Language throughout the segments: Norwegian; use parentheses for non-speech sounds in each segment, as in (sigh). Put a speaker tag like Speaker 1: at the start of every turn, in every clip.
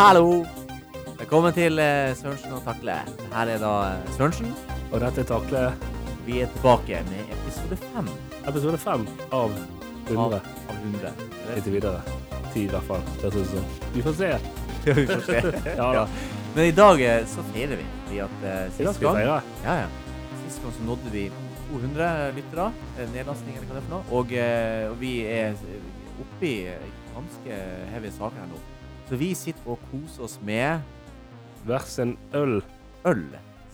Speaker 1: Hallo! Velkommen til eh, Sørensen og Takle. Her er da eh, Sørensen.
Speaker 2: Og dette er Takle,
Speaker 1: Vi er tilbake med episode fem
Speaker 2: episode fem av 100
Speaker 1: av, av 100.
Speaker 2: inntil videre. Ti i hvert fall. Det synes jeg. Vi får se.
Speaker 1: Ja, vi får se.
Speaker 2: (laughs) Ja da.
Speaker 1: Ja. Men i dag eh, så feirer vi, fordi at eh,
Speaker 2: I dag
Speaker 1: sist
Speaker 2: skal vi
Speaker 1: gang
Speaker 2: feire.
Speaker 1: ja, ja. Sist gang så nådde vi 200 lyttere. eh, Nedlastning, eller hva det er for noe. Og, eh, og vi er oppi eh, ganske heavy saker her nå. Så vi sitter og koser oss med
Speaker 2: Hver sin øl.
Speaker 1: øl.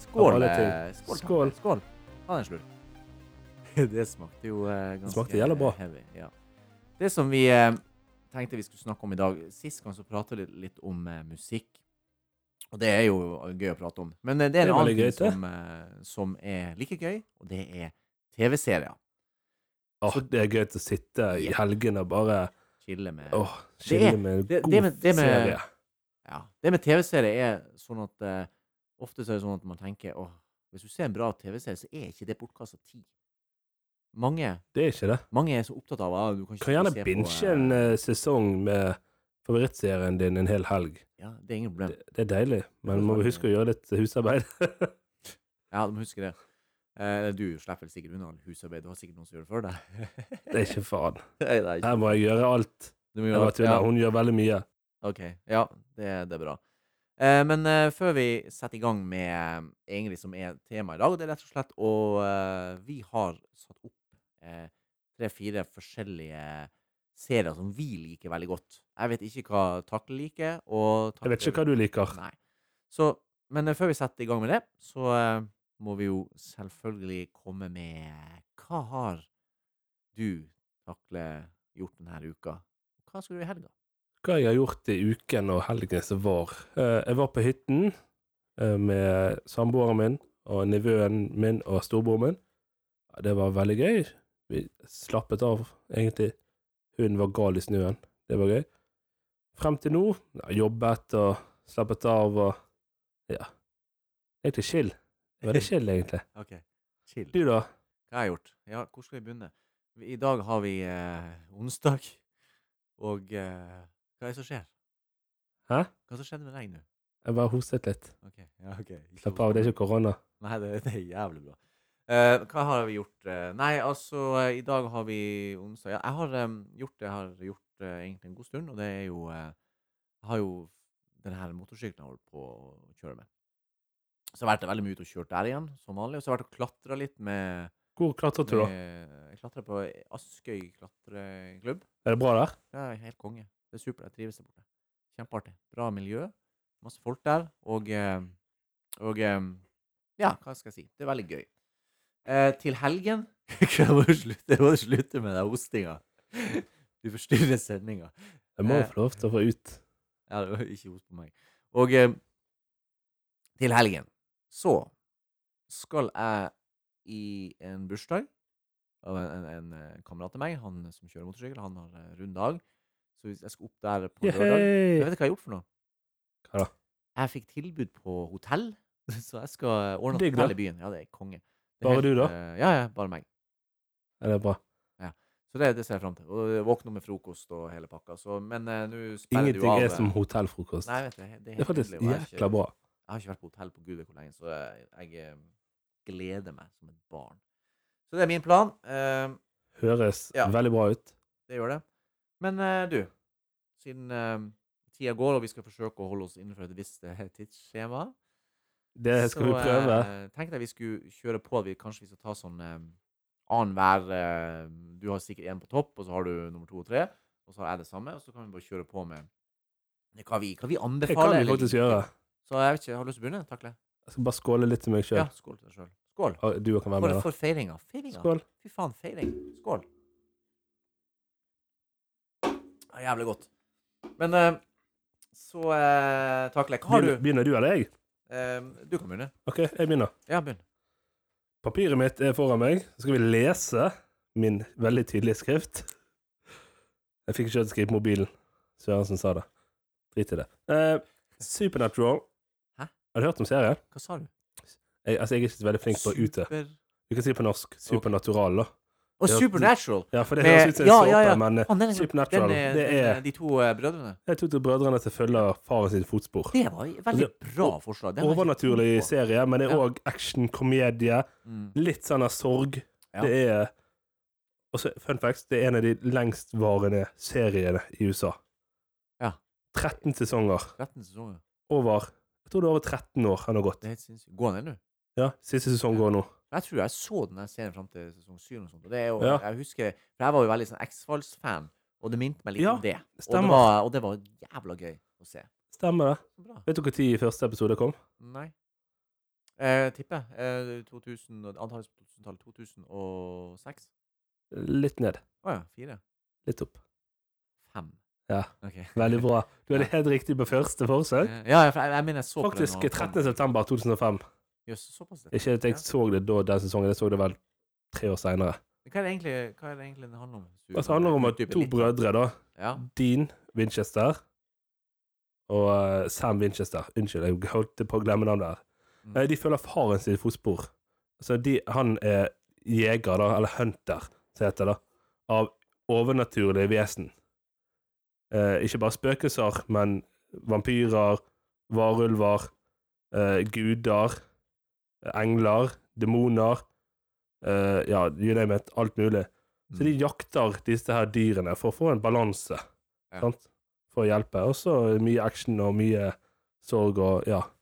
Speaker 1: Skål.
Speaker 2: alle
Speaker 1: eh,
Speaker 2: ting.
Speaker 1: Skål.
Speaker 2: Skål.
Speaker 1: Tante. skål. Ta en slurk. (laughs) Det smakte jo eh, ganske
Speaker 2: smakte jævla bra.
Speaker 1: heavy. Ja. Det som vi eh, tenkte vi skulle snakke om i dag Sist gang så prata vi litt, litt om eh, musikk. Og det er jo gøy å prate om. Men eh, det er
Speaker 2: Det
Speaker 1: en
Speaker 2: er
Speaker 1: annen
Speaker 2: veldig
Speaker 1: ting
Speaker 2: gøy, det.
Speaker 1: som, eh, som er like gøy, og det er TV-serier.
Speaker 2: Åh, det er gøy å sitte i helgene og bare
Speaker 1: Chille med
Speaker 2: åh, chille
Speaker 1: er-
Speaker 2: med en
Speaker 1: det-
Speaker 2: god
Speaker 1: det med- det med-
Speaker 2: serie.
Speaker 1: Ja. Det med TV-serier er sånn at eh, ofte så er det sånn at man tenker åh, hvis du ser en bra TV-serie, så er ikke det bortkasta tid. Mange,
Speaker 2: Det er ikke det.
Speaker 1: mange er så opptatt av ah, du kan, ikke
Speaker 2: Kan gjerne
Speaker 1: se på,
Speaker 2: binche
Speaker 1: eh,
Speaker 2: en eh, sesong med favorittserien din en hel helg.
Speaker 1: Ja, det er ingen problem.
Speaker 2: Det, det er deilig, men
Speaker 1: får
Speaker 2: må
Speaker 1: sagt
Speaker 2: vi huske å gjøre litt husarbeid. (laughs)
Speaker 1: Ja, du må huske det. Eh, du slipper vel sikkert unna all husarbeid. Du har sikkert noen som gjør det for deg. (laughs)
Speaker 2: Det er ikke faen.
Speaker 1: Nei, det er ikke-
Speaker 2: Her må jeg gjøre alt.
Speaker 1: Du må
Speaker 2: Jeg
Speaker 1: gjøre
Speaker 2: bare
Speaker 1: alt.
Speaker 2: tuller.
Speaker 1: Ja,
Speaker 2: Hun gjør veldig mye.
Speaker 1: ok. Ja, det, det er bra. Eh, men eh, før vi setter i gang med eh, egentlig som er temaet i dag, det er rett og slett å eh, Vi har satt opp eh, tre-fire forskjellige serier som vi liker veldig godt. Jeg vet ikke hva Takle liker, og
Speaker 2: Jeg vet ikke hva du liker.
Speaker 1: Nei. Så, men eh, før vi setter i gang med det, så eh, må vi jo selvfølgelig komme med Hva har du, Takle, gjort denne uka? Hva skal du i helga?
Speaker 2: Hva jeg har gjort i uken og helgen som var. Eh, Jeg var på hytten eh, med samboeren min og nevøen min og storebroren min. Ja, Det var veldig gøy. Vi slappet av, egentlig. Hun var gal i snøen. Det var gøy. Frem til nå ja, jobbet og slappet av og Ja. Egentlig chill.
Speaker 1: (laughs)
Speaker 2: Veldig chill, egentlig.
Speaker 1: OK, chill.
Speaker 2: Du, da?
Speaker 1: Hva har jeg gjort? Ja, hvor skal vi begynne? Vi- I dag har vi eh, onsdag, og eh, hva er det som skjer?
Speaker 2: Hæ?
Speaker 1: Hva er det som skjedde med deg nå?
Speaker 2: Jeg bare hostet litt.
Speaker 1: Ok, ja, ok. Ikke
Speaker 2: Slapp av, det er ikke korona.
Speaker 1: Nei, det, det er jævlig bra. Eh, hva har vi gjort? eh? nei, altså, eh, i dag har vi onsdag. Ja, jeg har em, gjort det jeg har gjort eh, egentlig en god stund, og det er jo eh, Jeg har jo denne her motorsykkelen jeg holder på å kjøre med. Så jeg har vært veldig mye ute og kjørt der igjen, som vanlig. Og så har jeg vært og klatra litt med,
Speaker 2: Hvor klatret du, da?
Speaker 1: med Jeg klatra på Askøy klatreklubb.
Speaker 2: Er det bra der?
Speaker 1: Det er helt konge. Det er supert. Jeg trives der borte. Kjempeartig. Bra miljø. Masse folk der. Og, eh, og eh, Ja, hva skal jeg si? Det er veldig gøy. Eh, til helgen (laughs) Jeg må jo slutte, jeg må jo slutte med den hostinga. Du forstyrrer sendinga.
Speaker 2: Jeg må
Speaker 1: Eh.
Speaker 2: jo få lov til å få ut.
Speaker 1: Ja, det var (laughs) ikke host på meg. Og eh, til helgen så skal jeg i en bursdag av en, en, en eh, kamerat til meg, han som kjører motorsykkel, han har eh, rund dag. Så hvis jeg skal opp der på lørdag Jeg vet
Speaker 2: Yay!
Speaker 1: du hva jeg har gjort for noe?
Speaker 2: Hva da?
Speaker 1: Jeg fikk tilbud på hotell, (laughs) så jeg skal eh, ordne
Speaker 2: Digg,
Speaker 1: et hotell
Speaker 2: da.
Speaker 1: i byen. Ja, det er konge. Det er
Speaker 2: Bare
Speaker 1: helt,
Speaker 2: du, da?
Speaker 1: eh, Ja, ja, bare meg.
Speaker 2: Ja, det er bra.
Speaker 1: Så det, det ser jeg fram til. Og våkne opp med frokost og hele pakka. Så, men eh, nå sperrer du
Speaker 2: Ingenting
Speaker 1: av
Speaker 2: er
Speaker 1: eh,
Speaker 2: som hotellfrokost.
Speaker 1: Nei, jeg vet, det, det,
Speaker 2: det er faktisk
Speaker 1: nydelig, og jeg er ikke-
Speaker 2: jækla bra.
Speaker 1: Jeg har ikke vært på hotell på gud vet hvor lenge, så jeg, jeg eh, gleder meg som et barn. Så det er min plan. Eh,
Speaker 2: Høres
Speaker 1: Ja.
Speaker 2: veldig bra ut.
Speaker 1: Det gjør det. Men eh, du, siden eh, tida går, og vi skal forsøke å holde oss innenfor et visst eh, tidsskjema
Speaker 2: Det skal
Speaker 1: så,
Speaker 2: vi prøve.
Speaker 1: eh, tenkte jeg vi skulle kjøre på at vi kanskje vi skal ta sånn eh, annenhver eh, Du har sikkert én på topp, og så har du nummer to og tre, og så har jeg det samme, og så kan vi bare kjøre på med hva vi, hva vi
Speaker 2: Det
Speaker 1: anbefaler.
Speaker 2: kan vi
Speaker 1: eller
Speaker 2: faktisk
Speaker 1: ikke.
Speaker 2: gjøre.
Speaker 1: Så jeg vet ikke, har du lyst til å begynne? Takle.
Speaker 2: Jeg skal bare skåle litt til meg
Speaker 1: Ja,
Speaker 2: sjøl.
Speaker 1: skål til deg sjøl. Skål.
Speaker 2: Du kan være
Speaker 1: For,
Speaker 2: med, da.
Speaker 1: for feiringa. Feiringa.
Speaker 2: Skål.
Speaker 1: Fy faen, feiring. Skål. Ja, jævlig godt. Men eh, så uh, Takle, hva har du?
Speaker 2: Begynner- Begynner du eller jeg?
Speaker 1: Eh, du kan begynne.
Speaker 2: OK, jeg begynner.
Speaker 1: Ja, begynn.
Speaker 2: Papiret mitt er foran meg. Så skal vi lese min veldig tydelige skrift. Jeg fikk ikke til å skrive på mobilen. Sørensen sa det. Drit i det. Eh, Supernatural.
Speaker 1: Hæ?
Speaker 2: Har du hørt om serien?
Speaker 1: Hva sa du?
Speaker 2: Jeg, altså, jeg er ikke så veldig flink på ute.
Speaker 1: Super...
Speaker 2: Du kan si det på norsk. Supernatural, da.
Speaker 1: Og
Speaker 2: Ja,
Speaker 1: Supernatural!
Speaker 2: Ja, for det
Speaker 1: Med-
Speaker 2: høres ut som en
Speaker 1: ja,
Speaker 2: såpe,
Speaker 1: ja, ja.
Speaker 2: men eh,
Speaker 1: Faen, den er-
Speaker 2: Supernatural,
Speaker 1: den er-
Speaker 2: det
Speaker 1: den
Speaker 2: er
Speaker 1: De to eh, brødrene.
Speaker 2: Jeg tror til brødrene som følger faren sitt fotspor.
Speaker 1: Det var et veldig bra forslag. Det var jeg ikke
Speaker 2: Altså, Overnaturlig
Speaker 1: tenkt på.
Speaker 2: serie, men det er
Speaker 1: Ja.
Speaker 2: òg action, komedie,
Speaker 1: Mm.
Speaker 2: litt sånn av sorg.
Speaker 1: Ja.
Speaker 2: Det er Og så, fun facts, det er en av de lengstvarende seriene i USA.
Speaker 1: Ja.
Speaker 2: 13 sesonger.
Speaker 1: 13 sesonger.
Speaker 2: Over Jeg tror det er over 13 år han har gått.
Speaker 1: Det er helt sinnssykt. Går den ennå?
Speaker 2: Ja, Siste sesong
Speaker 1: Ja.
Speaker 2: går nå.
Speaker 1: Jeg tror jeg så den der serien fram til sesong 7 og sånt. Og det er jo,
Speaker 2: Ja.
Speaker 1: jeg husker, for jeg var jo veldig sånn X-Files-fan, og det minte meg litt
Speaker 2: Ja,
Speaker 1: om det. Og det,
Speaker 2: stemmer.
Speaker 1: var, og det var jævla gøy å se.
Speaker 2: Stemmer det.
Speaker 1: Så bra.
Speaker 2: Vet du når første episode kom?
Speaker 1: Nei. Eh, tipper eh, 2000, og- antallet på 2000-tallet 2006.
Speaker 2: Litt ned.
Speaker 1: Å ja. Fire?
Speaker 2: Litt opp.
Speaker 1: Fem?
Speaker 2: Ja.
Speaker 1: Ok.
Speaker 2: Veldig
Speaker 1: (laughs)
Speaker 2: bra. Du hadde
Speaker 1: Ja.
Speaker 2: helt riktig på første forsøk.
Speaker 1: Eh, Ja, ja, for jeg, jeg mener jeg så
Speaker 2: Faktisk
Speaker 1: på den.
Speaker 2: 13.9.2005.
Speaker 1: Jøss, såpass. det.
Speaker 2: Ikke at jeg så det da den sesongen, jeg så det vel tre år seinere.
Speaker 1: Men Hva er det egentlig, hva er det, egentlig det handler om? Hvis du
Speaker 2: Altså, Det handler om at
Speaker 1: utdyper
Speaker 2: to
Speaker 1: litt, da.
Speaker 2: brødre, da.
Speaker 1: Ja.
Speaker 2: Dean Winchester og eh, Sam Winchester. Unnskyld, jeg holdt på å glemme navnet der.
Speaker 1: Mm.
Speaker 2: Eh, De følger faren sin fotspor. Så de, han er jeger, da, eller hunter, som heter det, av overnaturlige vesen. Eh, ikke bare spøkelser, men vampyrer, varulver, eh, guder, engler, demoner eh, Ja, you name it. Alt mulig. Så
Speaker 1: Mm.
Speaker 2: de jakter disse her dyrene for å få en balanse.
Speaker 1: Ja.
Speaker 2: Sant? For å hjelpe. Og så mye action og mye sorg og ja.
Speaker 1: Mm.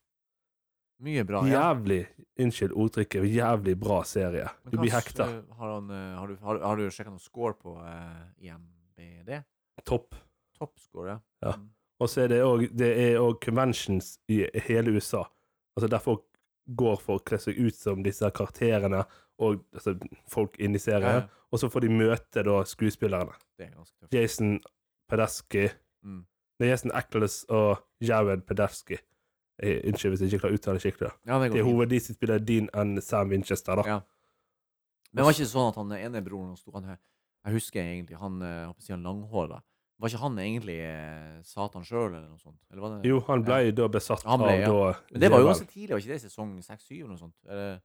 Speaker 1: Mye bra. ja.
Speaker 2: Jævlig Unnskyld ordtrykket. Jævlig bra serie.
Speaker 1: Men
Speaker 2: Du blir
Speaker 1: hva s-
Speaker 2: hekta.
Speaker 1: Har, han, eh, har du, har, har du sjekka noen score på eh, IMBD?
Speaker 2: Topp.
Speaker 1: Toppscore, ja.
Speaker 2: Ja.
Speaker 1: Mm.
Speaker 2: Og så er det òg Det er òg conventions i hele USA. Altså der folk går for å kle seg ut som disse her karakterene og altså, folk inni
Speaker 1: Ja,
Speaker 2: serien.
Speaker 1: ja.
Speaker 2: Og så får de møte da skuespillerne.
Speaker 1: Det er ganske tøft.
Speaker 2: Jason Pedesky
Speaker 1: Mm.
Speaker 2: Det er Jason Eccles og Jared Pedesky. Eh, Unnskyld hvis jeg ikke klarer å uttale det skikkelig.
Speaker 1: Ja, det går
Speaker 2: Det er
Speaker 1: fint.
Speaker 2: hoved de som spiller Dean and Sam Winchester, da.
Speaker 1: Ja. Men det var ikke sånn at han ene broren hans sto han her Jeg husker egentlig han eh, jeg håper å si han langhåra. Var ikke han egentlig eh, Satan sjøl, eller noe sånt? Eller var det?
Speaker 2: Jo, han ble da besatt
Speaker 1: Han ble, ja.
Speaker 2: av da
Speaker 1: Men det var jo
Speaker 2: djevelen.
Speaker 1: ganske tidlig, var ikke det i sesong 6-7 eller noe sånt? Eller,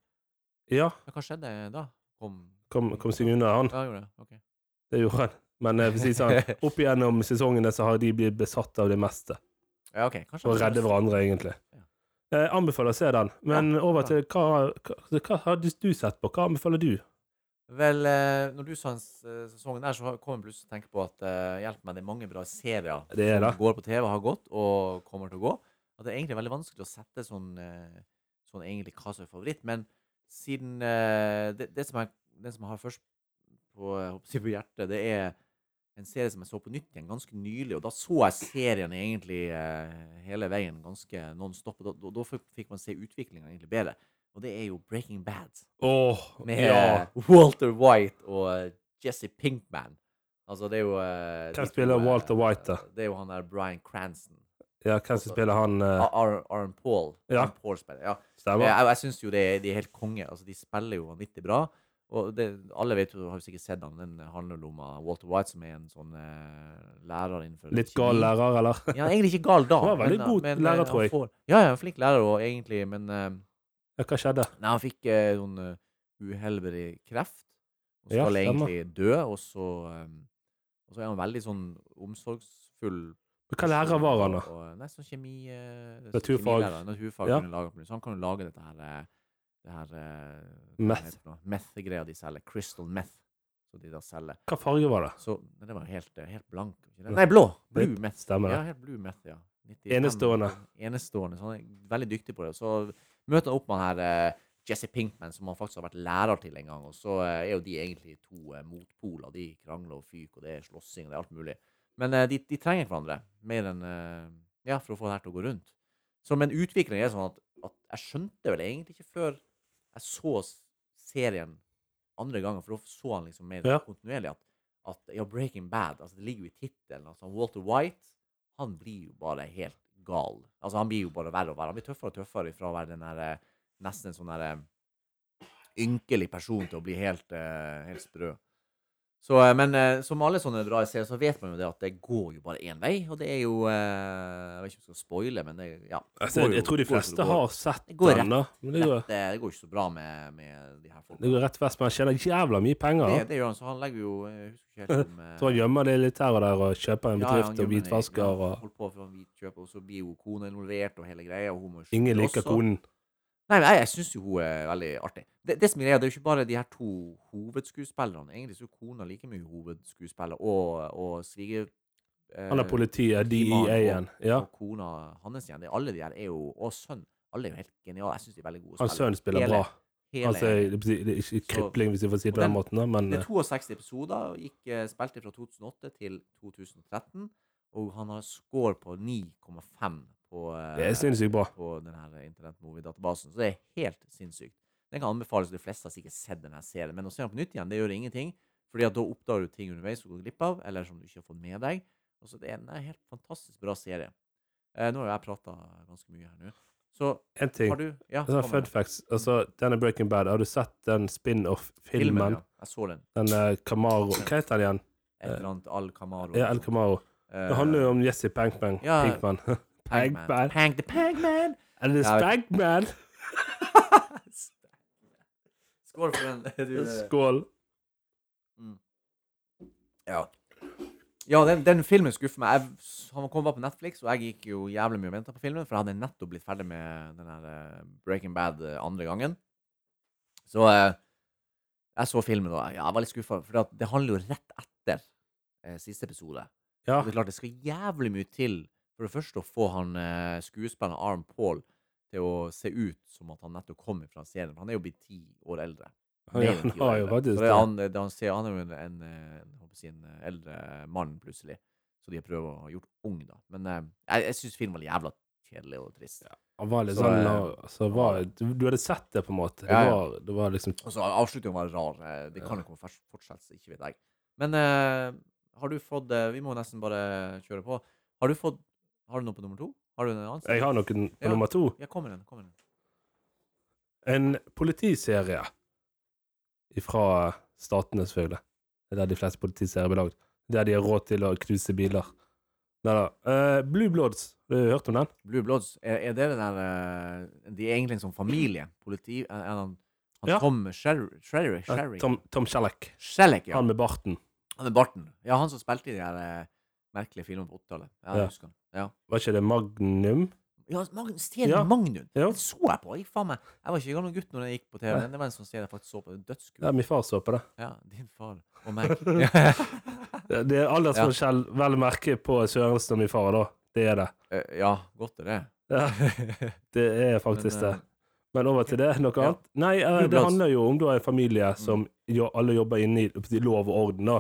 Speaker 2: Ja,
Speaker 1: men hva skjedde da? Kom
Speaker 2: kom, kom seg unna han.
Speaker 1: Ja, gjorde det. Ok.
Speaker 2: Det gjorde han. Men eh, for å si det
Speaker 1: (laughs)
Speaker 2: sånn, opp igjennom sesongene så har de blitt besatt av det meste.
Speaker 1: Ja, ok. Kanskje
Speaker 2: Og
Speaker 1: han-
Speaker 2: redde hverandre, egentlig. Eh, anbefaler å se den. Men over til hva, hva, altså, hva hadde du sett på? Hva anbefaler du?
Speaker 1: Vel, eh, når du sa en s- eh, sesongen der, så har- kom jeg plutselig til å tenke på at eh, hjelp meg, det er mange bra serier
Speaker 2: Det er det.
Speaker 1: som går på TV, har gått og kommer til å gå. At det er egentlig veldig vanskelig å sette sånn, eh, sånn egentlig hva som er favoritt. Men siden eh, det, det som jeg, Den som jeg har først på, eh, jeg håper å si på hjertet, det er en serie som jeg så på nytt igjen ganske nylig. Og da så jeg serien egentlig eh, hele veien ganske non stop. Og da, da, da fikk man se utviklinga egentlig bedre. Og det er jo Breaking Bad
Speaker 2: Åh,
Speaker 1: med eh,
Speaker 2: ja.
Speaker 1: Walter White og eh, Jesse Pinkman. Altså, det er jo eh, de
Speaker 2: Hvem
Speaker 1: to,
Speaker 2: spiller
Speaker 1: eh,
Speaker 2: Walter White, da?
Speaker 1: Det er jo han der Bryan Cranston.
Speaker 2: ja, hvem som spiller han? eh,
Speaker 1: Ar- Ar- Aaron Paul.
Speaker 2: Ja.
Speaker 1: Aaron Paul spiller, ja. Jeg,
Speaker 2: Stemmer?
Speaker 1: jeg, jeg syns jo det er, de er helt konge. Altså, de spiller jo vanvittig bra. Og det, alle vet jo, har jo sikkert sett han, den handler jo om eh, Walter White, som er en sånn eh, lærer innenfor
Speaker 2: Litt
Speaker 1: kjemi.
Speaker 2: gal lærer, eller?
Speaker 1: Ja, egentlig ikke gal da.
Speaker 2: Han var veldig
Speaker 1: men-
Speaker 2: god
Speaker 1: men, eh,
Speaker 2: lærer,
Speaker 1: han
Speaker 2: tror jeg.
Speaker 1: Får, ja, ja, flink lærer og egentlig, men eh,
Speaker 2: Ja, hva skjedde?
Speaker 1: Nei, han fikk eh, sånn eh, uhelbredelig kreft. Og
Speaker 2: Ja,
Speaker 1: skal
Speaker 2: stemmer.
Speaker 1: egentlig dø, og så, eh, og så er han veldig sånn omsorgsfull.
Speaker 2: Hva lærer var han, da?
Speaker 1: Og, og- nei, sånn kjemi... eh, sånn
Speaker 2: Naturfag.
Speaker 1: kjemilærer, Naturfag
Speaker 2: Ja.
Speaker 1: kunne lage, så han kan jo lage dette her, eh, det her eh, hva
Speaker 2: Meth.
Speaker 1: heter det for noe? Meth-greia de selger. Crystal meth. Så de da selger.
Speaker 2: Hva farge var det?
Speaker 1: Så men det var jo helt, eh, helt blank. ikke det?
Speaker 2: Nei.
Speaker 1: Nei, blå! Blue meth.
Speaker 2: Stemmer det.
Speaker 1: Ja, helt blue meth, ja. 95.
Speaker 2: Enestående.
Speaker 1: Enestående. Så han er veldig dyktig på det. Så møter han opp med han her eh, Jesse Pinkman, som han faktisk har vært lærer til en gang. Og så eh, er jo de egentlig to eh, motpoler. De krangler og fyker, og det er slåssing, og det er alt mulig. Men eh, de, de trenger hverandre mer enn eh, Ja, for å få det her til å gå rundt. Så, men utviklingen er sånn at, at jeg skjønte vel egentlig ikke før jeg så s- serien andre gangen, for da så han liksom mer
Speaker 2: Ja.
Speaker 1: kontinuerlig at, at ja, Breaking Bad altså Det ligger jo i tittelen. Altså, Walter White han blir jo bare helt gal. Altså, han blir jo bare verre og verre. Han blir tøffere og tøffere fra å være den der, eh, nesten en sånn der eh, ynkelig person til å bli helt, eh, helt sprø. Så, eh, men eh, som alle sånne bra serier, så vet man jo det at det går jo bare én vei. Og det er jo eh, Jeg vet ikke om jeg skal spoile, men det ja, det
Speaker 2: Altså,
Speaker 1: går
Speaker 2: jeg,
Speaker 1: jo-
Speaker 2: jeg tror de
Speaker 1: det går jo som det
Speaker 2: fleste
Speaker 1: går.
Speaker 2: har sett
Speaker 1: Det går rett-
Speaker 2: den, da. Men det går,
Speaker 1: Rett, eh, det går ikke så bra med, med de her
Speaker 2: det
Speaker 1: folkene.
Speaker 2: går rett vest, men han tjener jævla mye
Speaker 1: Det,
Speaker 2: penger. da.
Speaker 1: det gjør han, så han legger jo Jeg husker ikke helt om eh,
Speaker 2: (laughs) Så han gjemmer det litt her og der og kjøper en
Speaker 1: ja, ja, han
Speaker 2: bedrift og
Speaker 1: gjør det. Ja,
Speaker 2: hvitvasker og
Speaker 1: Holdt på for han hvitkjøper, og så blir jo kona involvert og hele greia. Og hun må jo
Speaker 2: Ingen
Speaker 1: skjønne
Speaker 2: liker
Speaker 1: også. eh,
Speaker 2: konen.
Speaker 1: Nei, men jeg, jeg syns jo hun er veldig artig. Det, det som er greia, det er jo ikke bare de her to hovedskuespillerne. Egentlig så er jo kona like mye hovedskuespiller, og, og sviger... eh,
Speaker 2: Han er politiet,
Speaker 1: Timon
Speaker 2: DEA-en. Ja.
Speaker 1: Og kona hans igjen. Det, alle de her er jo Og sønn. Alle er jo helt geniale. Jeg syns de er veldig gode
Speaker 2: Han sønnen spiller bra.
Speaker 1: Hele,
Speaker 2: Altså, det betyr- det er ikke
Speaker 1: Så-
Speaker 2: kripling, hvis jeg får si det på
Speaker 1: Og
Speaker 2: den
Speaker 1: den-
Speaker 2: måten, da, men
Speaker 1: Det
Speaker 2: eh,
Speaker 1: er 62 episoder, og gikk, eh, spilte fra 2008 til 2013. Og han har score på 9,5 på, eh,
Speaker 2: det er sinnssykt bra.
Speaker 1: på den her internettmovie-databasen. Så det er helt sinnssykt. Den kan anbefales, og de fleste har sikkert sett denne serien. Men å se den på nytt igjen, det gjør ingenting. Fordi at da oppdager du ting underveis som du går glipp av, eller som du ikke har fått med deg. Og så det er en det er en helt fantastisk bra serie. Eh, nå har jo jeg prata ganske mye her nå. Så
Speaker 2: En ting.
Speaker 1: har du Ja,
Speaker 2: Altså,
Speaker 1: kom
Speaker 2: fun
Speaker 1: med det.
Speaker 2: facts. Altså, denne Breaking Bad, har du sett den spin-off-filmen?
Speaker 1: ja. Jeg så den.
Speaker 2: Den eh, Camaro Hva heter den igjen?
Speaker 1: Et eller annet Al Camaro.
Speaker 2: Eh,
Speaker 1: Eh,
Speaker 2: Ja, El Camaro. Det handler jo om Jesse Pankman.
Speaker 1: ja.
Speaker 2: Pinkman. (laughs) Pankman.
Speaker 1: Pank the Pankman.
Speaker 2: Er det
Speaker 1: Ja, jeg
Speaker 2: Spankman?
Speaker 1: Skål for den. (laughs) Du, eh,
Speaker 2: Skål.
Speaker 1: ja. Ja, den, den filmen skuffer meg. Jeg, han kom bare på Netflix, og jeg gikk jo jævlig mye og venta på filmen, for jeg hadde nettopp blitt ferdig med den her eh, Breaking Bad eh, andre gangen. Så eh, jeg så filmen, og ja, jeg var litt skuffa, for det handler jo rett etter eh, siste episode.
Speaker 2: Ja.
Speaker 1: Og det er klart, det skal jævlig mye til for det første å få han eh, skuespilleren Arm Paul til å se ut som at han nettopp kommer fra serien. Han er jo blitt ti år eldre.
Speaker 2: Han,
Speaker 1: Mer
Speaker 2: ja,
Speaker 1: enn
Speaker 2: han
Speaker 1: ti år
Speaker 2: har jo
Speaker 1: eldre.
Speaker 2: faktisk
Speaker 1: Så det.
Speaker 2: det.
Speaker 1: er Han, det er han, ser, han er jo en, en, eh, jeg håper å si, en eh, eldre mann, plutselig. Så de har prøvd å ha gjort ung, da. Men eh, jeg, jeg syns filmen var jævla kjedelig og trist.
Speaker 2: Han var litt
Speaker 1: Så,
Speaker 2: sånn
Speaker 1: eh,
Speaker 2: la- så var, du, du hadde sett det, på en måte. Det
Speaker 1: Ja, ja.
Speaker 2: var, det var liksom
Speaker 1: Og så avslutningen var rar. eh, Det kan jo komme fors- fortsettelse, ikke vet jeg. Men eh, har du fått eh, Vi må nesten bare kjøre på. Har du fått Har du noe på nummer to? Har du en annen?
Speaker 2: Jeg har noen på
Speaker 1: Ja.
Speaker 2: nummer to.
Speaker 1: Ja, kom med den. Kom med den.
Speaker 2: En politiserie fra statene, selvfølgelig. Det er der de fleste politiserier blir lagd. Der de har råd til å knuse biler. Nei da. Eh, Blue Bloods, har du hørt om den?
Speaker 1: Blue Bloods, er, er det den der eh, De er egentlig en sånn familie? Politi... Er er han, han
Speaker 2: Ja.
Speaker 1: Tom Sherry? Sherry?
Speaker 2: Eh,
Speaker 1: Sherry?
Speaker 2: Tom, Tom Selleck.
Speaker 1: Sherlock, ja.
Speaker 2: Han med barten.
Speaker 1: Han er barten. Ja, han som spilte i de der eh, merkelige filmene på 80-tallet. Ja, jeg
Speaker 2: Ja.
Speaker 1: husker han. Ja.
Speaker 2: Var ikke det Magnum?
Speaker 1: Ja, Magnus, serien
Speaker 2: Ja.
Speaker 1: Magnus!
Speaker 2: Ja.
Speaker 1: Den så jeg på! Jeg, faen meg. jeg var ikke gammel gutt når jeg gikk på TV.
Speaker 2: Nei.
Speaker 1: Men det var en sånn serie jeg faktisk så på.
Speaker 2: Det er
Speaker 1: Dødskul.
Speaker 2: min far så på det.
Speaker 1: Ja, din far og
Speaker 2: (laughs)
Speaker 1: meg. Ja. (laughs)
Speaker 2: Det det er aldersforskjell, vel å merke, på Sørensen og min far, da. Det er det.
Speaker 1: Eh, ja, godt er det.
Speaker 2: Ja, det er faktisk
Speaker 1: Men, eh,
Speaker 2: det. Men over til det, noe
Speaker 1: ja. Mm.
Speaker 2: annet? Nei, eh,
Speaker 1: Blue
Speaker 2: det
Speaker 1: Bloods.
Speaker 2: handler jo om da en familie som jo, alle jobber inne i i lov og orden, da.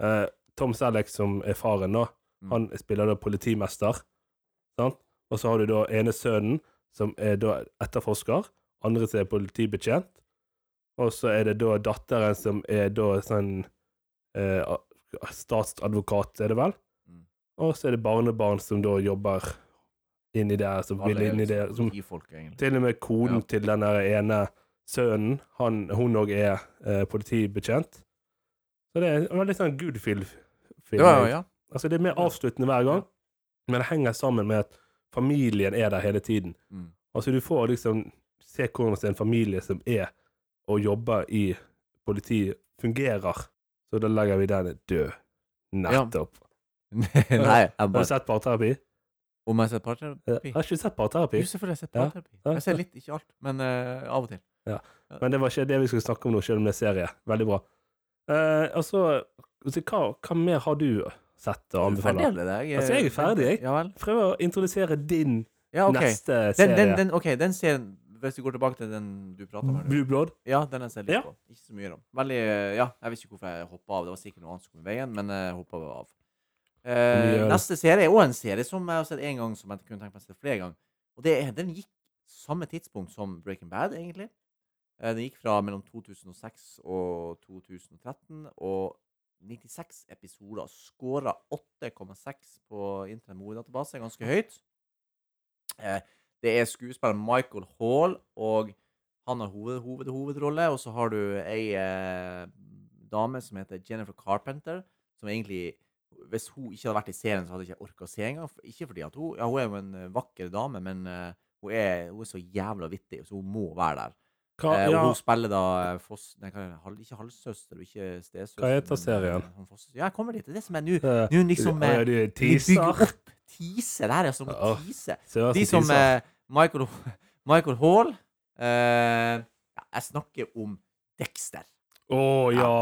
Speaker 2: Eh, Tom Selleck, som er faren, da,
Speaker 1: Mm.
Speaker 2: han spiller da politimester. Sant? Og så har du da ene sønnen, som er da etterforsker. Andre som er politibetjent. Og så er det da datteren som er da sånn eh, a- statsadvokat, er det vel?
Speaker 1: Mm.
Speaker 2: Og så er det barnebarn som da jobber inni der, som vil
Speaker 1: Alle er
Speaker 2: inn i det.
Speaker 1: liksom
Speaker 2: Som,
Speaker 1: politifolk, egentlig.
Speaker 2: til og med konen
Speaker 1: Ja.
Speaker 2: til den der ene sønnen, han, hun òg er eh, politibetjent. Så det er en veldig sånn good feel. feel
Speaker 1: Det var jo, ja.
Speaker 2: Altså, det er mer
Speaker 1: Ja.
Speaker 2: avsluttende hver gang, men det henger sammen med at familien er der hele tiden.
Speaker 1: Mm. (laughs)
Speaker 2: Altså, du får liksom se hvordan en familie som er og jobber i politi, fungerer. Så da legger vi den død. Nettopp.
Speaker 1: Nei, jeg
Speaker 2: Har du
Speaker 1: bare
Speaker 2: sett parterapi?
Speaker 1: Om jeg har sett parterapi?
Speaker 2: Ja, Jeg har ikke sett parterapi,
Speaker 1: Jo, selvfølgelig. Jeg ser
Speaker 2: Ja.
Speaker 1: parterapi. Jeg ser litt, ikke alt, men eh, av og til.
Speaker 2: men det var ikke det vi skulle snakke om nå, selv om det er serie. Veldig bra. Eh, altså, altså, hva, hva mer har du sett å
Speaker 1: Du er ferdig
Speaker 2: anbefale?
Speaker 1: allerede?
Speaker 2: Altså, jeg er ferdig, jeg.
Speaker 1: Ja vel?
Speaker 2: Prøv å introdusere din
Speaker 1: Ja, OK.
Speaker 2: neste
Speaker 1: Den,
Speaker 2: serie. Mm.
Speaker 1: den, den, ok, den serien, hvis vi går tilbake til den du prater om her nå
Speaker 2: Blue Blood.
Speaker 1: Ja, den har jeg sett litt
Speaker 2: Ja.
Speaker 1: på. Ikke så mye om. Veldig eh, Ja, jeg vet ikke hvorfor jeg hoppa av. Det var sikkert noe annet som kom i veien, men jeg hoppa av. Eh,
Speaker 2: Mye, ja.
Speaker 1: neste serie er òg en serie som jeg har sett én gang, som jeg kunne tenkt meg å se flere ganger. Og det, er- den gikk samme tidspunkt som Breaking Bad, egentlig. Eh, den gikk fra mellom 2006 og 2013, og 96 episoder. Skåra 8,6 på Internett Moe-database, ganske høyt. Eh, det er skuespilleren Michael Hall, og han har hoved, hoved, hovedrolle. Og så har du ei eh, dame som heter Jennifer Carpenter, som egentlig Hvis hun ikke hadde vært i serien, så hadde jeg ikke orka å se engang. For- Ikke fordi at hun Ja, hun er jo en eh, vakker dame, men eh, hun, er, hun er så jævla vittig, så hun må være der.
Speaker 2: Hva,
Speaker 1: Eh, og
Speaker 2: ja,
Speaker 1: hun spiller da eh, Foss... Nei, hva, er det? Hal- ikke halvsøster, og ikke stesøster.
Speaker 2: Hva
Speaker 1: men,
Speaker 2: heter
Speaker 1: eh,
Speaker 2: serien?
Speaker 1: hun Foss- Ja, jeg kommer dit. Det er det som er nå.
Speaker 2: eh,
Speaker 1: Nå liksom eh,
Speaker 2: ja, de
Speaker 1: de bygger
Speaker 2: teaser.
Speaker 1: opp teaser. Det her er som å
Speaker 2: Ja.
Speaker 1: tease.
Speaker 2: Seriøst,
Speaker 1: De som
Speaker 2: teaser.
Speaker 1: eh, Michael, (laughs) Michael Hall eh, ja, Jeg snakker om Dexter.
Speaker 2: Å ja.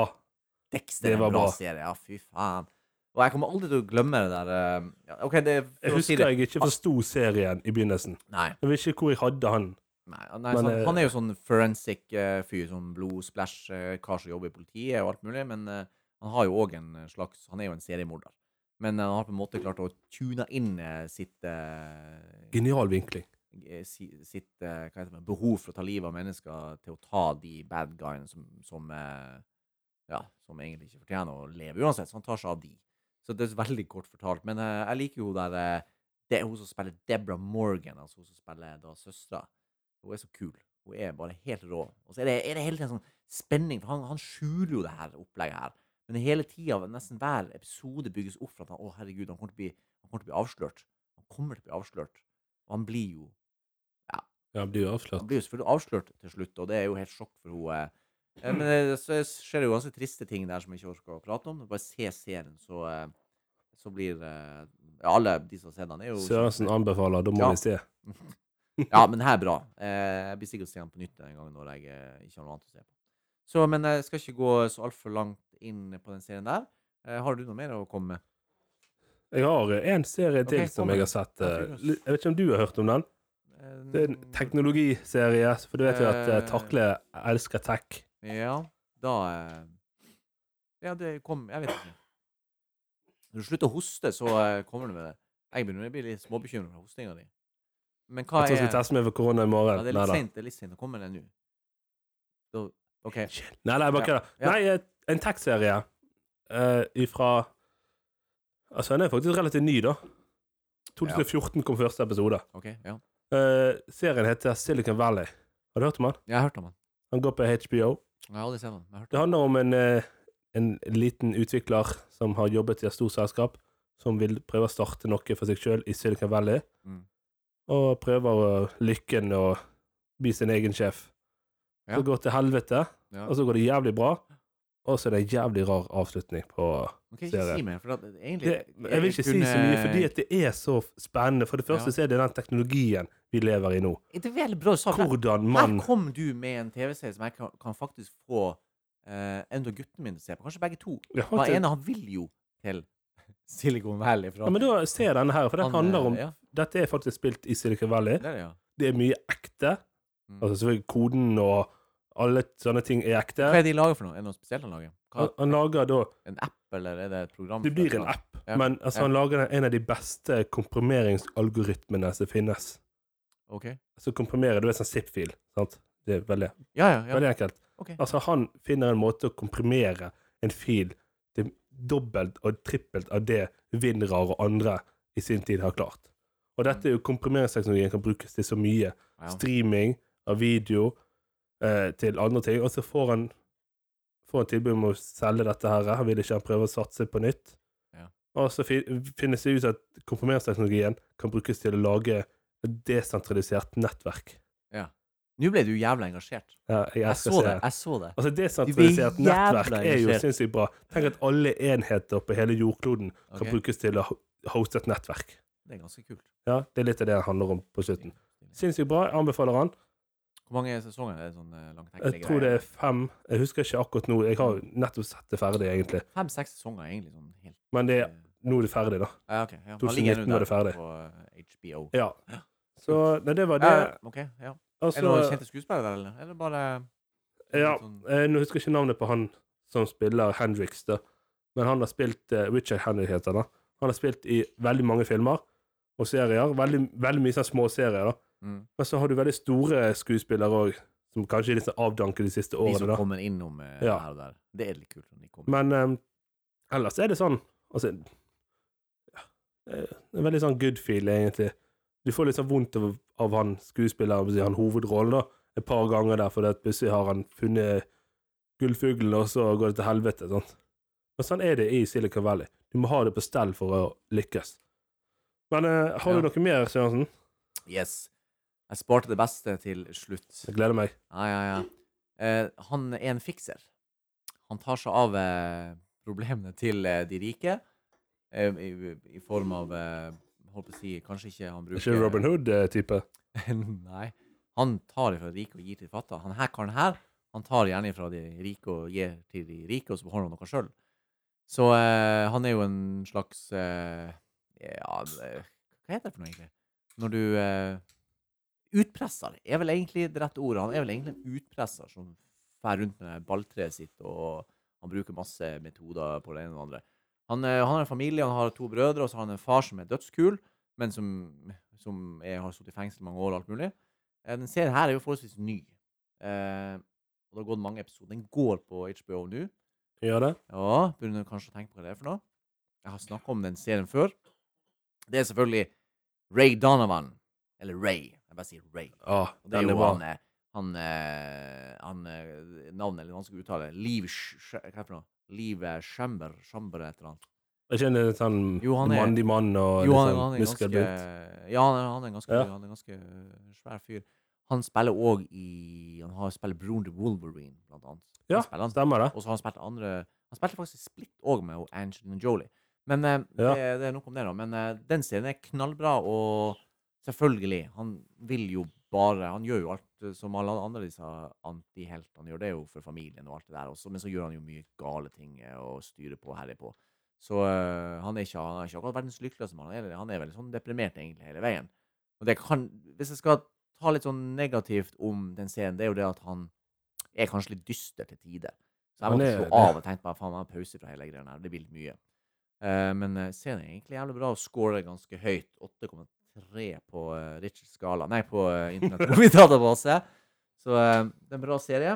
Speaker 1: Dexter
Speaker 2: Det
Speaker 1: er en
Speaker 2: var
Speaker 1: bra,
Speaker 2: bra.
Speaker 1: serie. Ja, fy faen. Og jeg kommer aldri til å glemme det der eh, ja, OK, det er for
Speaker 2: Jeg
Speaker 1: å si
Speaker 2: husker
Speaker 1: det.
Speaker 2: jeg ikke forsto serien i begynnelsen.
Speaker 1: Nei.
Speaker 2: Jeg vet ikke hvor jeg hadde han.
Speaker 1: Nei, nei
Speaker 2: Men,
Speaker 1: sånn,
Speaker 2: eh,
Speaker 1: han er jo sånn forensic eh, fyr, sånn blodsplash, eh, kar som jobber i politiet og alt mulig, men eh, han har jo òg en slags Han er jo en seriemorder. Men eh, han har på en måte klart å tune inn eh, sitt eh,
Speaker 2: Genial vinkling.
Speaker 1: eh, si, sitt eh, hva heter det, behov for å ta livet av mennesker til å ta de bad guyene som, som eh, ja, som egentlig ikke fortjener å leve uansett, så han tar seg av de. Så det er veldig kort fortalt. Men eh, jeg liker jo der eh, det er hun som spiller Deborah Morgan, altså hun som spiller da søstera. Hun er så kul. Hun er bare helt rå. Og så er det, er det hele tiden sånn spenning, for han, han skjuler jo det her opplegget her. Men hele tida, nesten hver episode bygges opp for at han, å herregud, han kommer til å bli, han kommer til å bli avslørt. Han kommer til å bli avslørt. Og han blir jo
Speaker 2: Ja, blir jo avslørt.
Speaker 1: han blir jo selvfølgelig avslørt til slutt, og det er jo helt sjokk for henne. Eh, Men eh, så skjer det jo ganske triste ting der som jeg ikke orker å prate om. Bare se serien, så, eh, så blir eh, ja, Alle de som har sett den, er jo
Speaker 2: Sørensen anbefaler, da må
Speaker 1: Ja.
Speaker 2: vi se.
Speaker 1: Ja, men det her er bra. Eh, Jeg blir sikkert å se den på nytt en gang når jeg eh, ikke har noe annet å se på. Så, men jeg skal ikke gå så altfor langt inn på den serien der. Eh, Har du noe mer å komme med?
Speaker 2: Jeg har eh, en serie til
Speaker 1: Ok, kom
Speaker 2: som
Speaker 1: med.
Speaker 2: jeg har sett. eh,
Speaker 1: Ja, fyr løs.
Speaker 2: li- Jeg vet ikke om du har hørt om den?
Speaker 1: Eh,
Speaker 2: Det er en teknologiserie, for du vet jo at eh,
Speaker 1: Eh.
Speaker 2: Takle elsker tech.
Speaker 1: Ja, da eh, Ja, det kom Jeg vet ikke. Når du slutter å hoste, så eh, kommer du med det. Jeg begynner å bli litt småbekymret for hostinga di. Men hva
Speaker 2: Jeg tror jeg skal
Speaker 1: er
Speaker 2: teste meg for korona i
Speaker 1: Ah, ja,
Speaker 2: morgen.
Speaker 1: Det er
Speaker 2: Nei
Speaker 1: litt
Speaker 2: da.
Speaker 1: sent. Det er litt sent. Nå kommer det nå. Da, OK.
Speaker 2: Nei, nei, bare
Speaker 1: Ja.
Speaker 2: kødda.
Speaker 1: Ja.
Speaker 2: Nei, eh, en tech-serie eh, ifra Altså, den er faktisk relativt ny, da. 2014 kom første episode.
Speaker 1: ok, Ja.
Speaker 2: Eh, serien heter Silicon Valley. Har du hørt om den?
Speaker 1: Jeg har hørt om han.
Speaker 2: Han går på HBO.
Speaker 1: Jeg har aldri sett han. men Jeg har hørt
Speaker 2: Det handler om en, eh, en liten utvikler som har jobbet i et stort selskap, som vil prøve å starte noe for seg sjøl i Silicon Valley,
Speaker 1: Mm.
Speaker 2: og prøver å lykken og bli sin egen sjef.
Speaker 1: Ja.
Speaker 2: Så går det til helvete,
Speaker 1: Ja.
Speaker 2: og så går det jævlig bra, og så er det en jævlig rar avslutning på
Speaker 1: om han. Ok,
Speaker 2: Ser
Speaker 1: Ikke
Speaker 2: jeg.
Speaker 1: si mer, for at, egentlig eh,
Speaker 2: det, Jeg vil ikke si så
Speaker 1: kunne-
Speaker 2: mye, fordi at det er så spennende. For det første så er det den teknologien vi lever i nå.
Speaker 1: Det er veldig bra sagt. Her-
Speaker 2: Hvordan man
Speaker 1: Her kom du med en TV-serie som jeg kan, kan faktisk få eh, en av guttene mine til å se på. Kanskje begge to.
Speaker 2: Ja,
Speaker 1: Han
Speaker 2: det-
Speaker 1: ene han vil jo til (laughs) Silicon Valley. Fra.
Speaker 2: ja, men da ser jeg denne her, for den
Speaker 1: Han,
Speaker 2: handler om
Speaker 1: eh, ja,
Speaker 2: Dette er faktisk spilt i Silicon Valley.
Speaker 1: det er det, ja.
Speaker 2: det er mye ekte.
Speaker 1: Mm.
Speaker 2: Altså selvfølgelig koden og alle sånne ting er ekte.
Speaker 1: Hva er de lager for noe? Er det noe spesielt han lager? Hva,
Speaker 2: Han, han lager da
Speaker 1: en app, eller er det et program?
Speaker 2: Det
Speaker 1: for
Speaker 2: blir
Speaker 1: et
Speaker 2: en
Speaker 1: eller annet?
Speaker 2: app,
Speaker 1: Ja,
Speaker 2: men altså,
Speaker 1: ja.
Speaker 2: han lager en av de beste komprimeringsalgoritmene som finnes.
Speaker 1: Ok.
Speaker 2: Altså komprimere, du vet sånn zip-fil, sant? Det er veldig,
Speaker 1: Ja, ja, ja.
Speaker 2: veldig enkelt.
Speaker 1: Ok.
Speaker 2: Altså, han finner en måte å komprimere en fil til dobbelt og trippelt av det Winrar og andre i sin tid har klart. Og dette er jo komprimeringsteknologien kan brukes til så mye.
Speaker 1: ja.
Speaker 2: streaming av video eh, til andre ting. Og så får han, får han tilbud om å selge dette her. Han vil ikke han prøve å satse på nytt.
Speaker 1: Ja.
Speaker 2: Og så fi- finnes det ut at konfirmeringsteknologien kan brukes til å lage et desentralisert nettverk.
Speaker 1: Nå ble du jævla engasjert.
Speaker 2: Ja, jeg
Speaker 1: Jeg
Speaker 2: elsker
Speaker 1: så det.
Speaker 2: serien.
Speaker 1: Jeg så det.
Speaker 2: Altså,
Speaker 1: Du
Speaker 2: desentralisert
Speaker 1: blir
Speaker 2: nettverk
Speaker 1: jævla
Speaker 2: er jo
Speaker 1: engasjert.
Speaker 2: sinnssykt bra. Tenk at alle enheter på hele jordkloden kan
Speaker 1: Ok.
Speaker 2: brukes til å ho- hoste et nettverk.
Speaker 1: Det er ganske kult.
Speaker 2: Ja, Det er litt av det det handler om på slutten.
Speaker 1: Hvor
Speaker 2: Sinnssykt bra. Jeg anbefaler han.
Speaker 1: mange sesonger er det sånn eh, langtekkelig
Speaker 2: Jeg tror det er fem. Jeg husker ikke akkurat nå. Jeg har nettopp sett det ferdig, egentlig.
Speaker 1: Fem-seks sesonger er egentlig sånn helt
Speaker 2: Men det,
Speaker 1: eh,
Speaker 2: nå er det ferdig, da.
Speaker 1: Ja, ok. Ja.
Speaker 2: 2019 var det ferdig.
Speaker 1: På eh, HBO.
Speaker 2: Ja. Så nei, det var det.
Speaker 1: Ja, ok, ja. Er det
Speaker 2: Altså,
Speaker 1: noen kjente skuespillere der, eller? Er det bare
Speaker 2: ja,
Speaker 1: sånn-
Speaker 2: eh, nå husker jeg ikke navnet på han som spiller Hendrix, da. Men han har spilt eh, Richard Hendrix heter han da. Han har spilt i veldig mange filmer og serier. Veldig, veldig mye sånn små serier, da.
Speaker 1: Mm.
Speaker 2: Men så har du veldig store skuespillere òg, som kanskje er litt sånn avdanket de siste
Speaker 1: De som
Speaker 2: årene, da.
Speaker 1: kommer innom eh,
Speaker 2: Ja.
Speaker 1: her og der. Det er litt kult når de kommer.
Speaker 2: Men eh, ellers er det sånn Altså ja, eh, En veldig sånn good feel, egentlig. Du får litt sånn vondt av, av han skuespilleren, vil si, han hovedrollen, da, et par ganger der, fordi at plutselig har han funnet gullfuglen, og så går det til helvete. Sant? Men sånn er det i Silicon Valley. Du må ha det på stell for å lykkes. Men eh, har
Speaker 1: Ja.
Speaker 2: du noe mer, Sørensen?
Speaker 1: Yes. Jeg sparte det beste til slutt.
Speaker 2: Jeg gleder meg.
Speaker 1: Ja, ja, ja. Eh, han er en fikser. Han tar seg av eh, problemene til eh, de rike eh, i, i form av eh, Holdt på å si Kanskje ikke eh, han bruker
Speaker 2: Ikke Robin Hood-type.
Speaker 1: (laughs) Nei. Han tar ifra de rike og gir til de fattige. Han her karen her, han tar gjerne ifra de rike og gir til de rike, og så beholder han noe sjøl. Så eh, han er jo en slags eh, Ja, det- hva heter det for noe, egentlig? Når du eh, Utpresser er vel egentlig det rette ordet. Han er vel egentlig en utpresser som fer rundt med balltreet sitt, og han bruker masse metoder på det ene og det andre. Han, eh, han har en familie, han har to brødre, og så har han en far som er dødskul, men som, som er, har sittet i fengsel i mange år og alt mulig. Eh, Den serien her er jo forholdsvis ny. Eh, og det har gått mange episoder. Den går på HBO nå.
Speaker 2: Gjør det?
Speaker 1: Ja, begynner du kanskje å tenke på hva det er for noe? Jeg har snakket om den serien før. Det er selvfølgelig Ray Donovan. Eller Ray. Jeg bare sier Ray.
Speaker 2: Ja,
Speaker 1: Og det er
Speaker 2: den
Speaker 1: jo
Speaker 2: er bra.
Speaker 1: han, eh, han, eh, han eh, Navnet eller vanskelig å uttale. Liv Sch- Sch- Hva er det for noe? Liv eh, Schember. Schember et eller annet.
Speaker 2: Er ikke en sånn
Speaker 1: Jo, han er-
Speaker 2: mandig mann og
Speaker 1: Jo,
Speaker 2: litt
Speaker 1: han,
Speaker 2: sånn
Speaker 1: han er ganske
Speaker 2: muskelbunt?
Speaker 1: Ja, han er, han er, ganske,
Speaker 2: Ja.
Speaker 1: han er ganske øh, svær fyr. Han spiller òg i Han har spiller broren til Wolverine, blant annet.
Speaker 2: Ja,
Speaker 1: Han spiller han.
Speaker 2: Stemmer det?
Speaker 1: Og så har han spilt andre Han spilte faktisk i Split òg med hun Angelina Jolie. Men eh,
Speaker 2: Ja.
Speaker 1: det, det er nok om det, da. Men eh, den serien er knallbra, og selvfølgelig Han vil jo bare Han gjør jo alt eh, som alle andre disse antiheltene gjør. Det er jo for familien og alt det der også, men så gjør han jo mye gale ting eh, og styrer på og herjer på. Så øh, han, er ikke, han er ikke akkurat verdens lykkeligste mann. Han er, han er veldig sånn deprimert egentlig hele veien. Og det kan, Hvis jeg skal ta litt sånn negativt om den serien, det er jo det at han er kanskje litt dyster til tider. Så jeg
Speaker 2: Han
Speaker 1: måtte
Speaker 2: er
Speaker 1: slå
Speaker 2: det.
Speaker 1: av og tenke på faen, jeg har pause fra hele greia her. Det blir litt mye. Eh, men eh, serien er egentlig jævlig bra og scorer ganske høyt. 8,3 på uh, Richards skala. Nei, på uh,
Speaker 2: (laughs)
Speaker 1: internettmobildatabase. Så eh, det er en bra serie.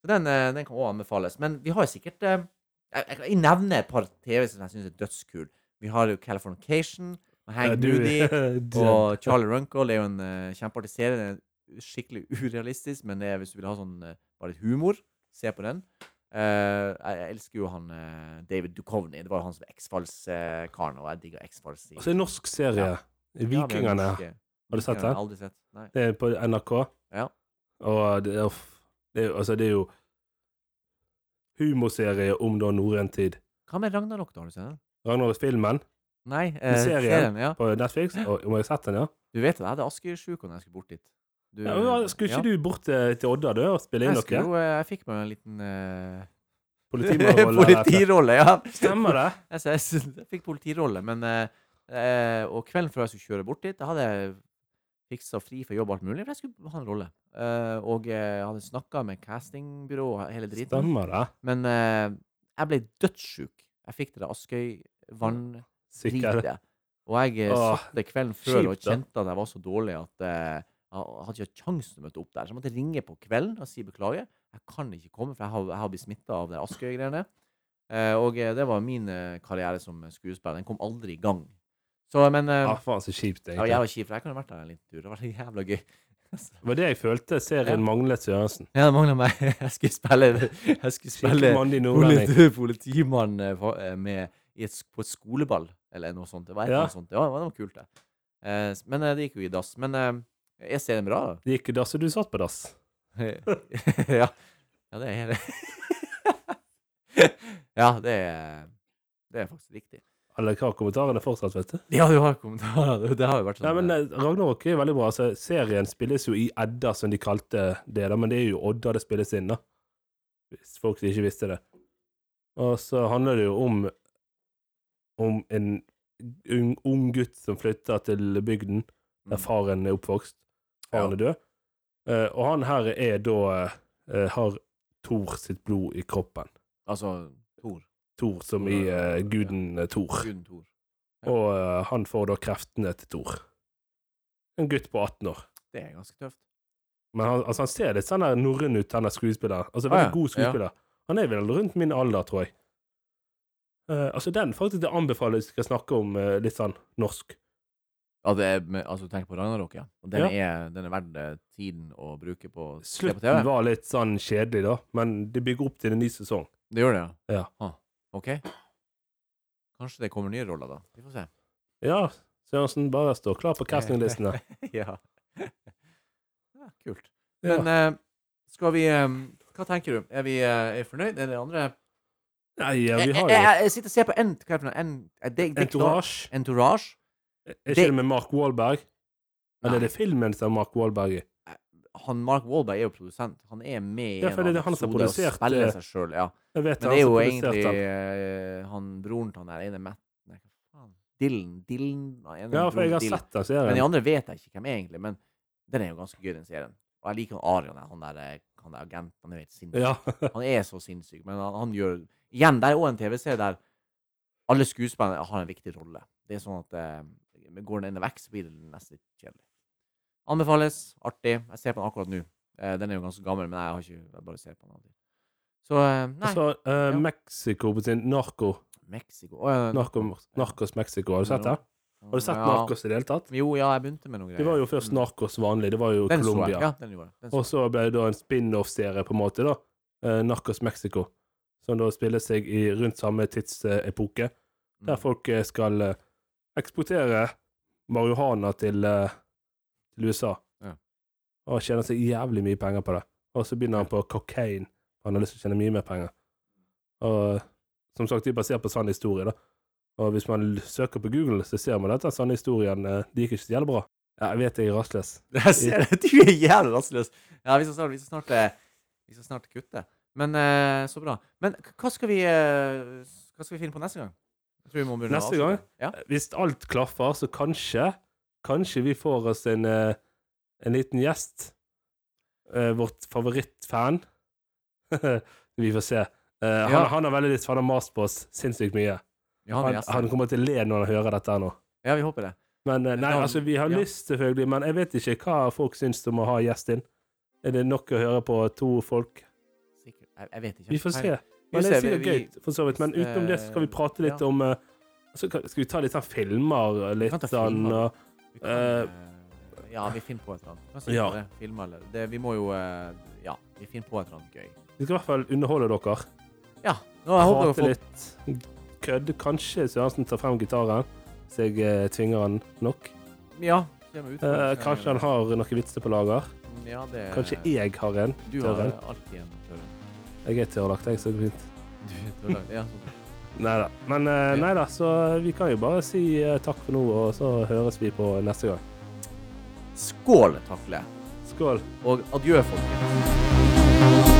Speaker 1: Så Den, eh, den kan også anbefales. Men vi har jo sikkert eh, jeg, jeg, jeg nevner et par TV som jeg syns er dødskul. Vi har jo Californication med
Speaker 2: Ja,
Speaker 1: Hank
Speaker 2: Eh, du-
Speaker 1: Moody
Speaker 2: (laughs) du-
Speaker 1: og Charlie Runkle. Det er jo en eh, kjempeartig serie. Den er skikkelig (laughs) urealistisk, men det er, hvis du vil ha sånn eh, bare litt humor, se på den. Eh, jeg, jeg elsker jo han eh, David Duchovny. Det var jo han som var X-Files-karen, og jeg digger X-Files. i-
Speaker 2: Altså, en norsk serie.
Speaker 1: Ja. Ja, men jeg
Speaker 2: Vikingene.
Speaker 1: husker ikke.
Speaker 2: Har du
Speaker 1: Vikingene
Speaker 2: sett
Speaker 1: har
Speaker 2: den?
Speaker 1: jeg Aldri sett. Nei.
Speaker 2: Det er på NRK.
Speaker 1: Ja.
Speaker 2: Og det er, uff, det er, jo- altså, det er jo humorserie om da norrøn tid.
Speaker 1: Hva med Ragnarok, da? Har du sett den?
Speaker 2: Ragnarok-filmen
Speaker 1: Nei, eh,
Speaker 2: serien.
Speaker 1: serien. Ja.
Speaker 2: på Netflix. Og, om jeg har sett den, ja.
Speaker 1: Du vet det, jeg hadde askesjuka da jeg skulle bort dit. Du,
Speaker 2: ja men, skulle ikke du bort til, til Odda du, og spille inn
Speaker 1: Jeg, skulle,
Speaker 2: noe?
Speaker 1: jo, eh, jeg fikk meg en liten eh, (laughs)
Speaker 2: Politimann og lærer.
Speaker 1: Politirolle, ja.
Speaker 2: Stemmer det?
Speaker 1: Jeg, jeg, synes- jeg fikk politirolle, men eh, eh, Og kvelden før jeg skulle kjøre bort dit, da hadde jeg fiksa fri for jobb og alt mulig, for jeg skulle ha en rolle. Eh, og eh, jeg hadde snakka med castingbyrå og hele driten.
Speaker 2: Stemmer det?
Speaker 1: Men eh, jeg ble dødssjuk. Jeg fikk det der Askøy-vanndritet.
Speaker 2: Sikkert.
Speaker 1: Og jeg eh,
Speaker 2: Åh,
Speaker 1: satt det kvelden før og
Speaker 2: kjipt, da.
Speaker 1: kjente at jeg var så dårlig at eh, jeg hadde ikke hatt sjansen til å møte opp der. Så jeg måtte ringe på kvelden og si beklager. Jeg kan ikke komme, for jeg har, jeg har blitt smitta av det Askøy-greiene. Eh, og eh, det var min eh, karriere som skuespiller. Den kom aldri i gang. Så, men eh,
Speaker 2: Ja, Ah, faen, så kjipt,
Speaker 1: jeg var
Speaker 2: egentlig.
Speaker 1: jævla kjip, for jeg kunne vært der en liten tur. Det var jævla gøy. (laughs)
Speaker 2: Det var det jeg følte
Speaker 1: Ja.
Speaker 2: serien manglet Sørensen.
Speaker 1: Ja, det mangla meg. (laughs) Jeg skulle spille Jeg skulle
Speaker 2: Skikkelig
Speaker 1: spille
Speaker 2: mandig nordlending.
Speaker 1: politi, (laughs) politimann eh, fa- eh, med, i et, sk- på et skoleball, eller noe sånt. Det var et eller
Speaker 2: Ja.
Speaker 1: annet sånt. Ja, det var- det var kult, det. Eh, s- men eh, det gikk jo i dass. Men eh, er serien bra, da? (laughs)
Speaker 2: Det gikk i dass, og du satt på dass.
Speaker 1: ja. ja, det er (laughs) Ja, det er, det er faktisk riktig.
Speaker 2: Eller hva kommentarene fortsatt, vet du.
Speaker 1: Ja, du har kommentarer. Det- Det har jo vært sånn.
Speaker 2: Nei, men
Speaker 1: eh,
Speaker 2: eh, Ragnarok er veldig bra. Altså, serien spilles jo i Edda, som de kalte det, da, men det er jo Odda det spilles inn, da. Hvis folk ikke visste det. Og så handler det jo om om en ung, ung gutt som flytter til bygden, der
Speaker 1: mm.
Speaker 2: faren er oppvokst.
Speaker 1: Ja.
Speaker 2: Faren er død. Eh, og han her er da eh, har Thor sitt blod i kroppen.
Speaker 1: Altså Thor.
Speaker 2: Thor som i eh, guden eh, Thor.
Speaker 1: Guden Thor. Ja.
Speaker 2: Og eh, han får da kreftene til Thor. En gutt på 18 år.
Speaker 1: Det er ganske tøft.
Speaker 2: Men han, altså, han ser litt sånn der norrøn ut, han der skuespilleren. Altså,
Speaker 1: Ah,
Speaker 2: veldig
Speaker 1: ja.
Speaker 2: god skuespiller. Han er vel rundt min alder, tror jeg. Eh, altså, den faktisk det anbefaler jeg skal snakke om eh, litt sånn norsk.
Speaker 1: Ja, det er, med- altså, tenk på Ragnarok, ja. Og den,
Speaker 2: Ja.
Speaker 1: Er, den er verdt eh, tiden å bruke på å se på
Speaker 2: Slutten
Speaker 1: TV.
Speaker 2: var litt sånn kjedelig, da, men de bygger opp til en ny sesong.
Speaker 1: Det gjør det,
Speaker 2: Ja.
Speaker 1: Ah, ok. Kanskje det kommer nye roller, da. Vi får se.
Speaker 2: (laughs) Ja, Sørensen, bare stå klar på
Speaker 1: (laughs)
Speaker 2: castinglistene.
Speaker 1: ja. ja. Kult.
Speaker 2: Ja.
Speaker 1: Men eh, skal vi eh, Hva tenker du? Er vi eh, er fornøyd? Er det andre
Speaker 2: Nei, ja, vi
Speaker 1: jeg,
Speaker 2: har
Speaker 1: jeg,
Speaker 2: jo
Speaker 1: jeg sitter og ser på en, hva er det for noe? en, eh, det, det, det-
Speaker 2: Entourage.
Speaker 1: Entourage?
Speaker 2: Er ikke det med Mark Wahlberg? Eller er
Speaker 1: Nei.
Speaker 2: det filmen som er Mark Wahlberg i?
Speaker 1: Han, Mark Wahlberg er jo produsent. Han er med i
Speaker 2: Ja,
Speaker 1: en
Speaker 2: for det er han
Speaker 1: episode
Speaker 2: som har
Speaker 1: og
Speaker 2: produsert,
Speaker 1: spiller
Speaker 2: eh,
Speaker 1: seg sjøl. Ja.
Speaker 2: Jeg
Speaker 1: Men
Speaker 2: vet
Speaker 1: det er jo
Speaker 2: han som produserte
Speaker 1: egentlig
Speaker 2: den.
Speaker 1: eh, han broren til han der ene Matt Nei, hva faen? Dylan Dylan nei, en
Speaker 2: Ja,
Speaker 1: bror
Speaker 2: for jeg har
Speaker 1: Dylan.
Speaker 2: sett den
Speaker 1: Men de
Speaker 2: serien.
Speaker 1: andre vet jeg ikke hvem er, egentlig. Men den er jo ganske gøy, den serien. Og jeg liker han Arian, han der, eh, han der agenten. Han er helt sinnssyk.
Speaker 2: Ja.
Speaker 1: Han er så sinnssyk, men han, han gjør Igjen, det er jo en TV-serie der alle skuespillerne har en viktig rolle. Det er sånn at eh, går den ene vekk, så blir det nesten litt kjedelig. Anbefales. Artig. Jeg ser på den akkurat nå. Eh, den er jo ganske gammel, men jeg har ikke jeg bare ser på den. aldri. Så eh, (laughs) nei.
Speaker 2: Så uh,
Speaker 1: Ja.
Speaker 2: Mexico på sin Narco.
Speaker 1: Mexico Å, ja,
Speaker 2: Narco Narcos Mexico. Har du sett det? Har du sett
Speaker 1: ja.
Speaker 2: Narcos i det hele tatt?
Speaker 1: Jo, ja, jeg begynte med noen greier.
Speaker 2: Det var jo først
Speaker 1: Mm.
Speaker 2: Narcos vanlig. Det var jo
Speaker 1: Den så jeg.
Speaker 2: Colombia.
Speaker 1: Ja, den gjorde jeg. Den så
Speaker 2: Og så ble det da en spin-off-serie, på en måte, da. eh, Narcos Mexico. Som da spiller seg i rundt samme tidsepoke.
Speaker 1: jeg.
Speaker 2: Der folk eh, skal eh, eksportere marihuana til, eh, til USA.
Speaker 1: Ja.
Speaker 2: Og tjener seg jævlig mye penger på det. Og så begynner han på cocaine. for Han har lyst til å tjene mye mer penger. Og eh, som sagt, de er basert på sann historie, da. Og hvis man l- søker på Google, så ser man at den sanne historien eh, de gikk ikke så jævlig bra. Ja, jeg vet jeg er rastløs.
Speaker 1: (laughs) Jeg ser det. Du er jævlig rastløs. Ja, vi skal snart, vi skal snart, eh, vi skal snart kutte. Men eh, så bra. Men k- hva skal vi eh, Hva skal vi finne på neste gang? Jeg tror vi må begynne å
Speaker 2: Neste
Speaker 1: avslutte.
Speaker 2: gang? Hvis alt klaffer, så kanskje Kanskje vi får oss en, eh, en liten gjest. Eh, Vårt favorittfan. (laughs) vi får se. Eh, han,
Speaker 1: Ja.
Speaker 2: han har veldig lyst, for han har mast på oss sinnssykt mye.
Speaker 1: Ja, han, er
Speaker 2: Han,
Speaker 1: gjest.
Speaker 2: han kommer til å le når han hører dette her nå.
Speaker 1: ja, vi håper det.
Speaker 2: Men eh, nei,
Speaker 1: Ja,
Speaker 2: altså, vi har
Speaker 1: ja.
Speaker 2: lyst, selvfølgelig, men jeg vet ikke hva folk syns om å ha gjest inn. Er det nok å høre på to folk?
Speaker 1: Sikkert. Jeg, jeg vet ikke.
Speaker 2: Vi får se.
Speaker 1: Vi
Speaker 2: Men det
Speaker 1: ser,
Speaker 2: er sikkert
Speaker 1: vi- vi-
Speaker 2: gøy, for så vidt. Men
Speaker 1: hvis,
Speaker 2: utenom det så skal vi
Speaker 1: eh,
Speaker 2: prate litt
Speaker 1: ja.
Speaker 2: om eh, altså, kan- Skal vi ta litt sånn filmer?
Speaker 1: kan
Speaker 2: Litt
Speaker 1: ta
Speaker 2: sånn
Speaker 1: filmer.
Speaker 2: og
Speaker 1: Vi kan,
Speaker 2: Eh,
Speaker 1: eh, ja, vi finner på et eller annet. Hva sier du
Speaker 2: Ja.
Speaker 1: til det? Filmer eller det, Vi må jo eh, Ja, vi finner på et eller annet gøy.
Speaker 2: Vi skal i hvert fall underholde dere.
Speaker 1: Ja. Nå, jeg håper jo
Speaker 2: Prate
Speaker 1: folk
Speaker 2: litt. Kødde. Kanskje Sørensen tar frem gitaren, så jeg eh, tvinger han nok.
Speaker 1: Ja. kommer ut. Mm,
Speaker 2: Eh, kanskje han har noen vitser på lager.
Speaker 1: ja, det,
Speaker 2: Kanskje jeg har en.
Speaker 1: Du har
Speaker 2: tørren.
Speaker 1: alltid en tørre.
Speaker 2: Jeg er tørrlagt, jeg, så det går fint.
Speaker 1: Du er tørre. Ja, sånn.
Speaker 2: Nei da. Men
Speaker 1: Ja.
Speaker 2: eh, nei da, så vi kan jo bare si eh, takk for nå, og så høres vi på neste gang.
Speaker 1: Skål, Takle.
Speaker 2: Skål.
Speaker 1: Og adjø, folkens.